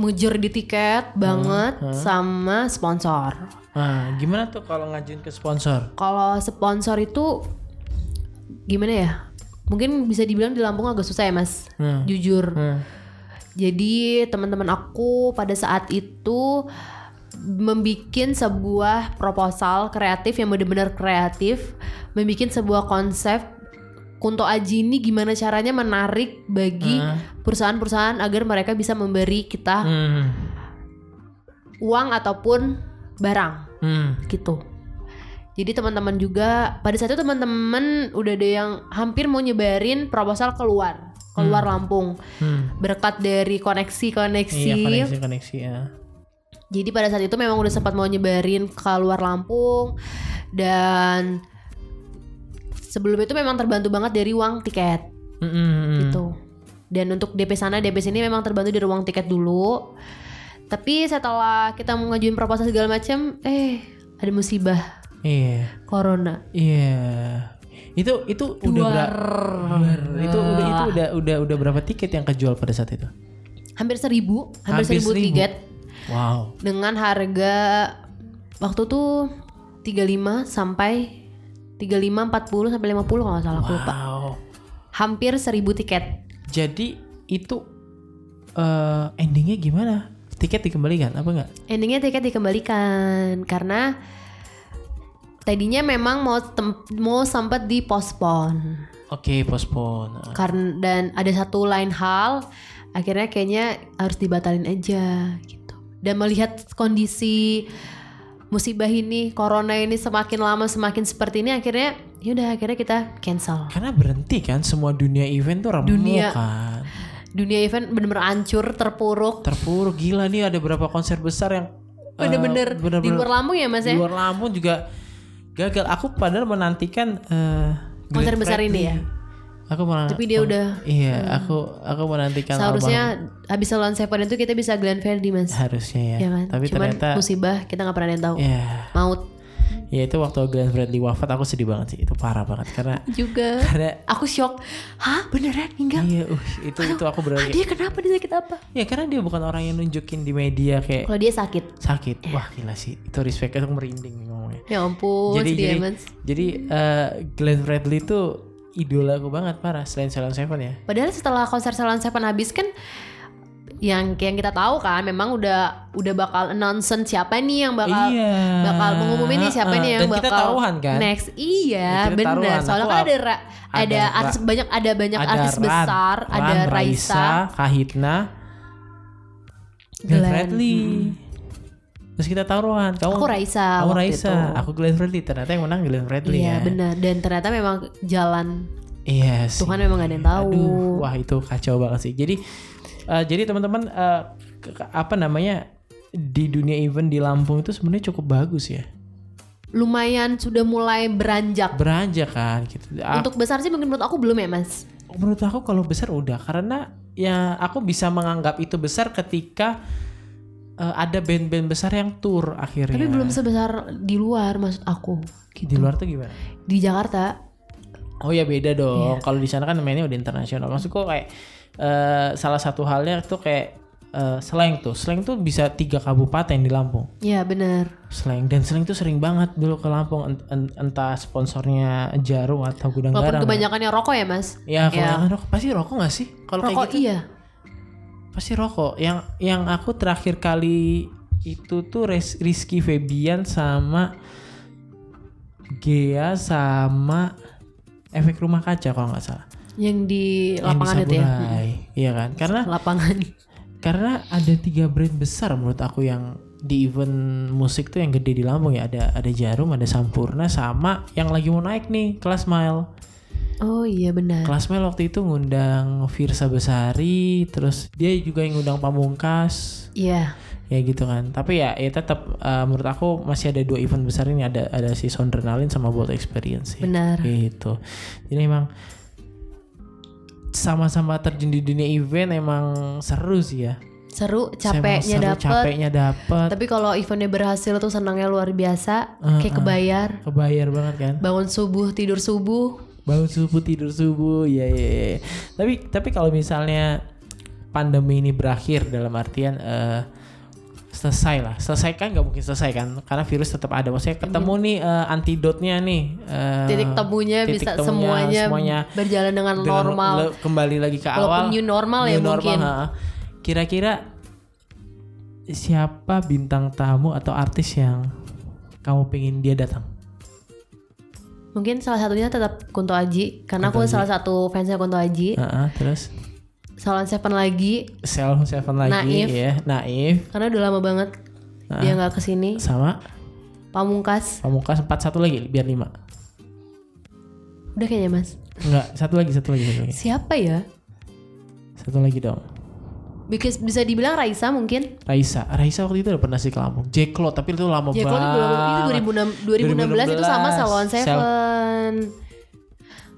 S2: mujur di tiket banget sama sponsor.
S1: Nah, gimana tuh kalau ngajuin ke sponsor?
S2: Kalau sponsor itu gimana ya? Mungkin bisa dibilang di Lampung agak susah ya, Mas.
S1: Hmm.
S2: Jujur.
S1: Hmm.
S2: Jadi teman-teman aku pada saat itu membikin sebuah proposal kreatif yang benar-benar kreatif, membikin sebuah konsep Kunto Aji ini gimana caranya menarik bagi perusahaan-perusahaan agar mereka bisa memberi kita
S1: Hmm.
S2: uang ataupun barang
S1: Hmm.
S2: gitu. Jadi teman-teman juga pada saat itu teman-teman udah ada yang hampir mau nyebarin proposal keluar, keluar Lampung.
S1: Hmm.
S2: Berkat dari koneksi-koneksi
S1: Iya koneksi koneksi ya.
S2: Jadi pada saat itu memang udah sempat mau nyebarin keluar Lampung dan sebelum itu memang terbantu banget dari uang tiket
S1: Hmm, hmm, hmm.
S2: gitu. Dan untuk DP sana DP sini memang terbantu dari uang tiket dulu. Tapi setelah kita mau ngajuin proposal segala macam, eh ada musibah
S1: Iya.
S2: corona.
S1: Iya. Itu itu udah
S2: Duar.
S1: berapa? Itu udah itu udah udah udah berapa tiket yang kejual pada saat itu?
S2: Hampir seribu, hampir,
S1: Hampir
S2: seribu,
S1: seribu.
S2: tiket
S1: Wow.
S2: dengan harga waktu tuh 35 sampai 35 40 sampai 50 kalau nggak salah aku lupa.
S1: Wow.
S2: hampir 1000 tiket.
S1: Jadi itu eh, endingnya gimana? Tiket dikembalikan apa enggak?
S2: Endingnya tiket dikembalikan karena tadinya memang mau tem- mau sempat dipospon
S1: Oke, postpone.
S2: karena dan ada satu lain hal akhirnya kayaknya harus dibatalin aja gitu. Dan melihat kondisi musibah ini, corona ini semakin lama semakin seperti ini akhirnya yaudah akhirnya kita cancel.
S1: Karena berhenti kan semua dunia event tuh remuk
S2: Dunia.
S1: kan.
S2: Dunia event bener-bener hancur, terpuruk.
S1: Terpuruk gila nih ada berapa konser besar yang eh,
S2: Bener-bener di luar Lampung ya Mas
S1: di
S2: ya?
S1: luar Lampung juga gagal. Aku padahal menantikan eh,
S2: Konser
S1: Glenn
S2: besar
S1: Fredly.
S2: ini ya?
S1: Aku malah
S2: Tapi dia udah hmm.
S1: Iya, aku aku menantikan
S2: Seharusnya
S1: album
S2: habis Salon Seven itu kita bisa Glenn Fredly mas.
S1: harusnya ya.
S2: Ya kan?
S1: Tapi
S2: Cuman
S1: ternyata
S2: musibah kita nggak pernah ada yang tahu.
S1: ya
S2: Maut
S1: ya itu waktu Glenn Fredly wafat aku sedih banget sih. Itu parah banget karena
S2: juga.
S1: karena
S2: Aku shock. Hah beneran meninggal?
S1: iya uh, itu itu aku
S2: Hah,
S1: berarti
S2: Ah, dia kenapa dia sakit apa?
S1: ya karena dia bukan orang yang nunjukin di media kayak
S2: Kalau dia sakit.
S1: sakit
S2: Iya.
S1: wah gila sih itu respect aku merinding nih ngomongnya
S2: Ya ampun
S1: jadi
S2: sedih ya,
S1: jadi
S2: Mas.
S1: jadi eh, Glenn Fredly itu idola aku banget parah selain Salon Seven ya
S2: Padahal setelah konser Salon Seven habis kan yang yang kita tahu kan memang udah udah bakal announcement siapa nih yang bakal
S1: iya
S2: bakal mengumumin nih siapa
S1: Heeh,
S2: nih yang
S1: dan
S2: bakal
S1: kita taruhan kan
S2: next iya
S1: Kita
S2: benar
S1: taruhan.
S2: soalnya
S1: Aku
S2: kan
S1: ap-
S2: ada ra- ada
S1: ada ra-
S2: artis banyak ada banyak artis
S1: Ran,
S2: besar
S1: Ran,
S2: ada Raisa
S1: Kahitna Glenn
S2: Glenn. Hmm.
S1: Fredly terus kita taruhan kamu
S2: aku Raisa
S1: kamu
S2: waktu
S1: Raisa
S2: itu.
S1: aku Glenn Fredly ternyata yang menang Glenn Fredly ya
S2: iya benar dan ternyata memang jalan
S1: Iya sih.
S2: Tuhan memang gak ada yang tahu.
S1: Aduh, wah itu kacau banget sih. Jadi eh, jadi teman-teman eh, ke- ke- apa namanya di dunia event di Lampung itu sebenarnya cukup bagus ya.
S2: lumayan sudah mulai beranjak
S1: Beranjak kan gitu. Aku-
S2: untuk besar sih mungkin menurut aku belum ya mas
S1: menurut aku kalau besar udah karena ya aku bisa menganggap itu besar ketika eh, ada band-band besar yang tour akhirnya.
S2: tapi belum sebesar di luar maksud aku
S1: Iya.
S2: gitu.
S1: di luar tuh gimana?
S2: di Jakarta
S1: Oh ya beda dong.
S2: Iya.
S1: Kalau di sana kan mainnya udah internasional. Maksudku kayak eh, salah satu halnya tuh kayak eh, slang tuh. Slang tuh bisa tiga kabupaten di Lampung.
S2: ya benar
S1: Slang dan slang tuh sering banget dulu ke Lampung Ent- en- entah sponsornya Jarum atau Gudang Garam.
S2: walaupun kebanyakannya rokok ya mas
S1: Ya,
S2: Ya.
S1: kebanyakan rokok pasti rokok gak sih? Kalau kayak
S2: rokok
S1: gitu
S2: iya
S1: pasti rokok. Yang yang aku terakhir kali itu tuh Res- Rizky Febian sama Gea sama efek rumah kaca kalau nggak salah.
S2: yang di lapangan
S1: yang di
S2: itu ya Mm.
S1: Saburai. Iya kan? Karena
S2: lapangan
S1: karena ada tiga brand besar menurut aku yang di event musik tuh yang gede di Lampung ya ada ada Jarum, ada Sampurna sama yang lagi mau naik nih kelas Mile.
S2: oh iya benar
S1: Kelas Mile waktu itu ngundang Virsa Besari, terus dia juga yang ngundang Pamungkas.
S2: iya
S1: ya gitu kan tapi ya ya tetap eh, menurut aku masih ada dua event besar ini ada ada si Soundrenalin sama Bold Experience sih.
S2: Benar.
S1: gitu jadi emang sama-sama terjun di dunia event emang seru sih ya
S2: Seru,
S1: Emang
S2: capeknya
S1: seru,
S2: dapet.
S1: capeknya dapet
S2: Tapi kalau eventnya berhasil tuh senangnya luar biasa, kayak kebayar.
S1: kebayar banget kan
S2: Bangun subuh, tidur subuh.
S1: bangun subuh tidur subuh ya ya ya. tapi tapi kalau misalnya pandemi ini berakhir dalam artian eh, selesai lah selesai kan nggak mungkin selesai kan karena virus tetap ada maksudnya
S2: Iya.
S1: ketemu nih eh, antidotnya nih eh,
S2: Titik temunya
S1: titik
S2: bisa
S1: temunya,
S2: semuanya,
S1: semuanya
S2: berjalan dengan,
S1: dengan
S2: normal.
S1: le- kembali lagi ke
S2: Walaupun
S1: awal
S2: new normal ya mungkin.
S1: ha. kira-kira siapa bintang tamu atau artis yang kamu pengen dia datang
S2: Mungkin salah satunya tetap Kunto Aji karena aku salah satu fansnya Kunto Aji.
S1: Ha-ha, terus
S2: Salon Seven lagi
S1: Sel Seven lagi
S2: Naif.
S1: ya Naif
S2: karena udah lama banget dia nggak kesini.
S1: sama
S2: Pamungkas
S1: Pamungkas empat satu lagi biar lima
S2: udah kayaknya mas.
S1: enggak satu lagi satu lagi satu lagi
S2: Siapa ya?
S1: satu lagi dong
S2: Because bisa dibilang Raisa mungkin.
S1: Raisa Raisa waktu itu udah pernah sih ke Lampung Jeklo tapi itu lama
S2: Jeko
S1: banget
S2: itu 2006 2016, itu sama
S1: 2016.
S2: Salon Seven.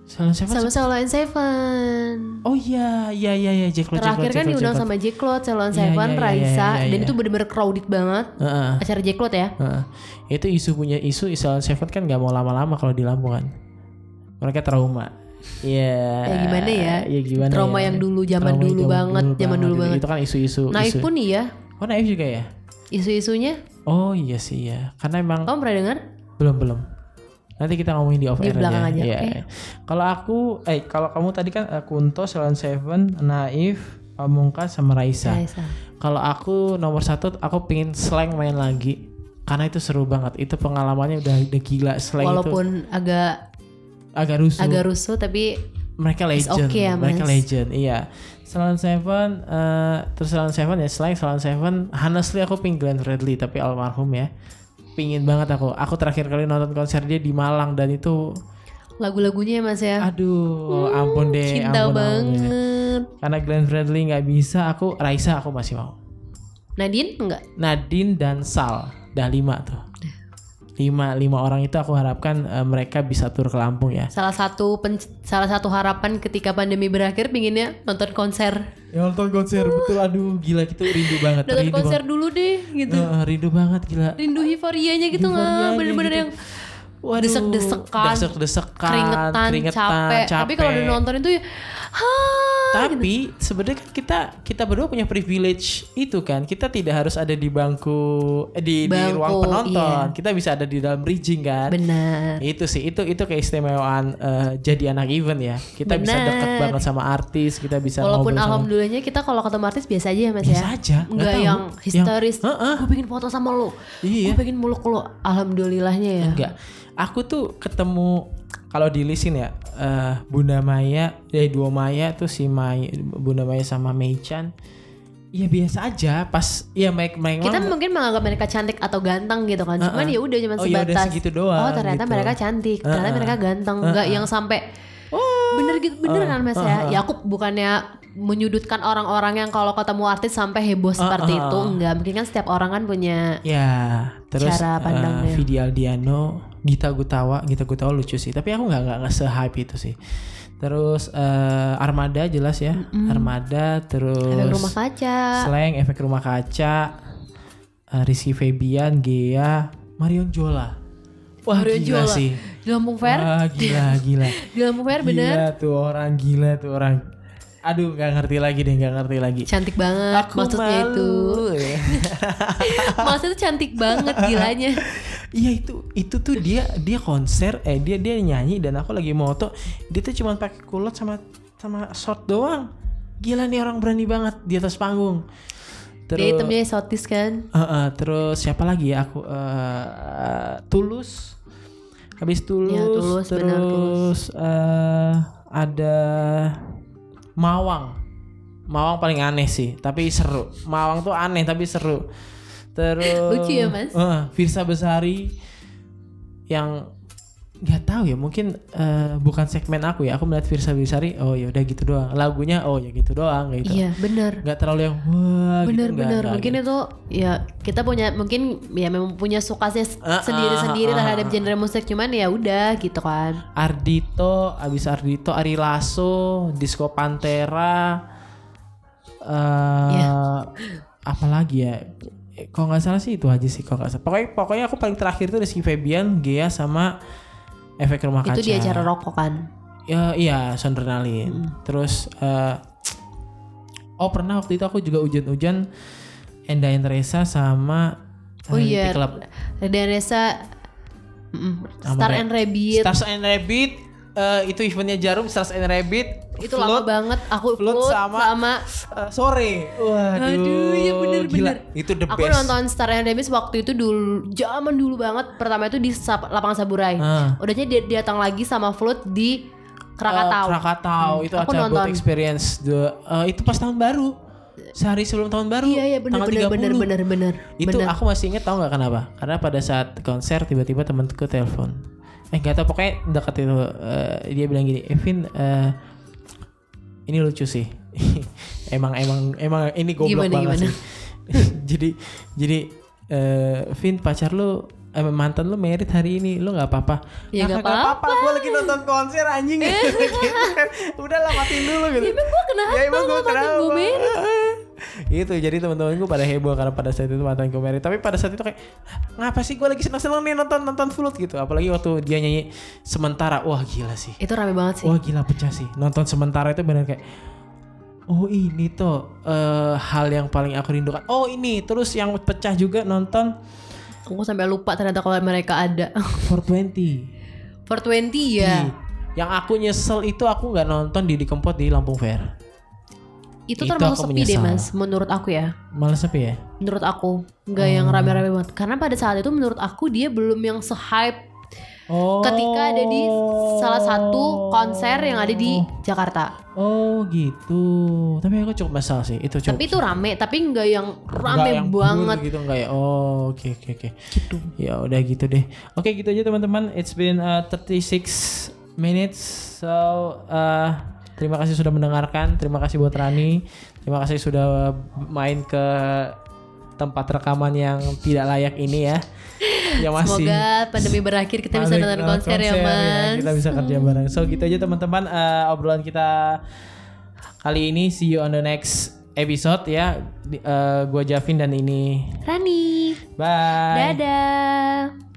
S1: Salon Seven
S2: Sama Salon Seven.
S1: oh iya iya iya iya Jeklo
S2: Terakhir kan diundang sama Jeklo, Salon
S1: Iya,
S2: Seven,
S1: iya, iya,
S2: Raisa
S1: iya, iya,
S2: dan
S1: iya.
S2: itu bener-bener crowded banget.
S1: Heeh.
S2: Acara Jeklo ya.
S1: heeh. itu isu punya isu Salon Seven kan nggak mau lama-lama kalau di Lampung kan mereka trauma Iya.
S2: Ya gimana ya?
S1: Ya gimana
S2: Trauma
S1: ya?
S2: yang dulu, zaman
S1: Trauma yang
S2: dulu banget, zaman dulu banget.
S1: Itu kan isu-isu.
S2: Naif
S1: isu.
S2: pun iya.
S1: Oh naif juga ya?
S2: Isu-isunya
S1: Oh iya sih ya. Karena emang
S2: kamu pernah dengar?
S1: belum belum nanti kita ngomongin di off
S2: Di
S1: air
S2: belakang aja,
S1: Iya,
S2: oke.
S1: iya. kalau aku eh kalau kamu tadi kan eh, Kunto Salon Seven Naif Pamungkas sama Raisa
S2: Raisa.
S1: kalau aku nomor satu aku pingin slang main lagi karena itu seru banget itu pengalamannya udah, udah gila slang itu
S2: Walaupun agak
S1: agak rusuh
S2: agak rusuh tapi
S1: mereka
S2: It's
S1: legend
S2: okay ya,
S1: mereka
S2: Mas.
S1: legend iya Salon Seven eh, terus Salon Seven ya slang Salon Seven honestly aku pingin Glenn Fredly tapi almarhum ya pingin banget aku aku terakhir kali nonton konser dia di Malang dan itu
S2: lagu-lagunya ya Mas ya.
S1: [laughs] Aduh, ampun deh,
S2: Cinta
S1: ampun, ampun deh.
S2: banget.
S1: Karena Glenn Fredly nggak bisa, aku Raisa aku masih mau.
S2: Nadine enggak?
S1: Nadine dan Sal, dah lima tuh. Lima, lima orang itu aku harapkan eh, mereka bisa tur ke Lampung ya.
S2: Salah satu pen- salah satu harapan ketika pandemi berakhir pinginnya nonton konser.
S1: Ya nonton konser betul, aduh gila gitu rindu banget,
S2: Nonton
S1: rindu
S2: konser
S1: banget.
S2: dulu deh gitu.
S1: Eh, rindu banget gila.
S2: Rindu euforianya gitu nggak
S1: Euforianya
S2: bener-bener
S1: gitu.
S2: yang
S1: Waduh,
S2: desek-desekan,
S1: desek-desekan,
S2: keringetan, capek. Tapi kalau udah nonton itu ya ha
S1: Tapi sebenarnya kan kita kita berdua punya privilege itu kan. Kita tidak harus ada di bangku eh, di, di
S2: Bangku,
S1: ruang penonton.
S2: iya.
S1: Kita bisa ada di dalam bridging kan.
S2: benar.
S1: Itu sih itu itu keistimewaan eh, jadi anak event ya. Kita bisa
S2: Benar.
S1: deket banget sama artis, kita bisa
S2: Walaupun
S1: ngobrol sama-
S2: alhamdulillahnya kita kalau ketemu artis biasa aja ya Mas
S1: Biasa
S2: ya.
S1: aja, nggak
S2: Enggak
S1: tahu.
S2: yang histeris.
S1: Yang, heeh.
S2: Gue pengen foto sama lo.
S1: Iya.
S2: Gue pengen muluk lo. Alhamdulillahnya ya.
S1: Enggak. Aku tuh ketemu kalau di listin ya eh, Bunda Maya, dari dua Maya tuh si Maya, Bunda Maya sama Meichan. Iya biasa aja pas ya mereka mereka
S2: Kita mungkin menganggap mereka cantik atau ganteng gitu kan. Cuman
S1: Heeh.
S2: ya udah cuman
S1: Oh, ya udah
S2: sebatas.
S1: segitu doang,
S2: Oh, ternyata
S1: gitu.
S2: mereka cantik. Ternyata
S1: Heeh. Oh.
S2: mereka ganteng. Enggak yang sampai bener gitu bener kan Mas ya. Ya aku bukannya menyudutkan orang-orang yang kalau ketemu artis sampai heboh seperti itu enggak. Mungkin kan setiap orang kan punya
S1: Ya, terus
S2: Cara
S1: eh,
S2: pandangnya.
S1: Vidi Aldiano, Gita Gutawa, Gita Gutawa lucu sih, tapi aku nggak nggak nggak se-hype itu sih. Terus eh, Armada jelas ya, Armada,
S2: efek
S1: terus
S2: rumah kaca.
S1: Slang, efek rumah kaca, eh, Rizky Febian, Gea, Marion Jola. Wah
S2: Mario
S1: gila
S2: Jola.
S1: sih.
S2: Di Lampung Fair.
S1: Wah gila gila.
S2: Di Lampung Fair bener.
S1: Gila tuh orang, gila tuh orang. Aduh nggak ngerti lagi deh, nggak ngerti lagi. ya.
S2: Cantik banget maksudnya
S1: [laughs]
S2: itu.
S1: itu.
S2: Maksudnya tuh cantik banget gilanya.
S1: Iya itu itu tuh dia dia konser eh dia dia nyanyi dan aku lagi moto dia tuh cuma pakai kulot sama sama short doang gila nih orang berani banget di atas panggung
S2: Dia
S1: terus
S2: itemnya eksotis kan.
S1: Eh, eh, terus siapa lagi ya aku eh, tulus habis tulus,
S2: Ya, Tulus,
S1: terus
S2: benar, Tulus.
S1: eh, ada mawang mawang paling aneh sih tapi seru mawang tuh aneh tapi seru terus
S2: Lucu ya, Mas?
S1: Eh, Firsa Besari yang nggak tahu ya mungkin eh, bukan segmen aku ya aku melihat Virsa Wirsari oh ya udah gitu doang lagunya oh ya gitu doang kayak gitu
S2: Iya bener
S1: nggak terlalu yang wah gitu,
S2: bener
S1: nggak-
S2: bener
S1: nggak
S2: mungkin
S1: gitu.
S2: itu ya kita punya mungkin ya memang punya sukanya s-
S1: Ah, ah,
S2: sendiri sendiri
S1: ah,
S2: terhadap
S1: ah.
S2: genre musik cuman ya udah gitu kan
S1: Ardito abis Ardito Ari Lasso Disco Pantera eh
S2: Iya.
S1: apalagi ya Eh, kalau nggak salah sih itu aja sih kalau nggak salah pokoknya pokoknya aku paling terakhir tuh Rizky Febian Gea sama efek rumah kaca
S2: itu di acara Hmm. rokokan
S1: Ya, iya, sondernalin. Terus eh, oh pernah waktu itu aku juga hujan-hujan Endain Teresa sama
S2: Oh
S1: eh,
S2: iya.
S1: Tea Club.
S2: Dan Reza mm,
S1: Sama
S2: Star
S1: Re-
S2: and Rabbit
S1: Stars and Rabbit eh, itu eventnya Jarum Stars and Rabbit
S2: itu
S1: Float,
S2: lama banget aku
S1: Float
S2: float
S1: sama- eh, sore. Waduh.
S2: Aduh, ya
S1: gila.
S2: bener-bener.
S1: Itu the
S2: Aku
S1: best.
S2: nonton Star and Rabbit waktu itu dulu, zaman dulu banget. Pertama itu di Sap- lapangan Saburai.
S1: Ah.
S2: Udahnya dia dia datang lagi sama Float di
S1: Eh,
S2: Krakatau.
S1: Krakatau itu
S2: aku
S1: acara
S2: nonton.
S1: Boat Experience the eh, itu pas tahun baru. Sehari sebelum tahun baru.
S2: Iya iya bener
S1: tanggal 30.
S2: bener bener bener bener.
S1: itu
S2: bener.
S1: aku masih inget tau nggak kenapa karena pada saat konser tiba-tiba temanku telepon eh nggak tau pokoknya dekat itu eh, dia bilang gini Evin eh, ini lucu sih [laughs] emang emang emang ini goblok
S2: Gimana,
S1: banget
S2: gimana?
S1: sih [laughs] jadi jadi eh, Vin pacar lu eh, mantan lu merit hari ini lu nggak apa-apa
S2: Ya,
S1: "Nah,
S2: nggak
S1: nggak gue lagi nonton konser
S2: [laughs]
S1: anjing [laughs] Gitu kan. udah lah matiin dulu gitu
S2: Ya, Emang gua
S1: gua
S2: kenapa? Mantan gua merit.
S1: [laughs] itu Gitu, jadi teman-teman gue pada heboh karena pada saat itu mantan gue merit tapi pada saat itu kayak ngapa sih gue lagi seneng-seneng nih nonton nonton Float gitu apalagi waktu dia nyanyi sementara wah gila sih
S2: Itu rame banget sih.
S1: wah gila pecah sih nonton sementara itu benar kayak oh ini tuh eh, hal yang paling aku rindukan oh ini terus yang pecah juga nonton
S2: Aku sampai lupa ternyata kalau mereka ada. [laughs]
S1: 420
S2: For 20 ya.
S1: yang aku nyesel itu aku nggak nonton Didi Kempot di Lampung Fair
S2: Itu
S1: Itu
S2: termasuk
S1: aku
S2: sepi deh
S1: menyesal.
S2: mas, menurut aku ya.
S1: malah sepi ya
S2: menurut aku nggak
S1: Oh.
S2: yang rame-rame banget karena pada saat itu menurut aku dia belum yang se-hype
S1: oh
S2: ketika ada di salah satu konser yang ada di Jakarta
S1: Oh gitu. Tapi aku cukup masalah sih. Itu cukup.
S2: tapi itu rame tapi nggak yang
S1: Nggak
S2: rame
S1: yang
S2: banget
S1: full gitu enggak ya. Oh, oke oke oke. Ya udah gitu deh. Oke, gitu aja teman-teman. It's been uh, 36 minutes. So uh, terima kasih sudah mendengarkan. Terima kasih buat Rani. Terima kasih sudah main ke tempat rekaman yang tidak layak ini ya. Yang masih
S2: semoga pandemi berakhir kita bisa
S1: Paling
S2: nonton
S1: nonton
S2: konser, ya mas
S1: iya, Kita bisa kerja bareng. So gitu aja teman-teman eh, obrolan kita kali ini. See you on the next episode ya. Di- eh, gua Javin dan ini.
S2: Rani
S1: Bye.
S2: dadah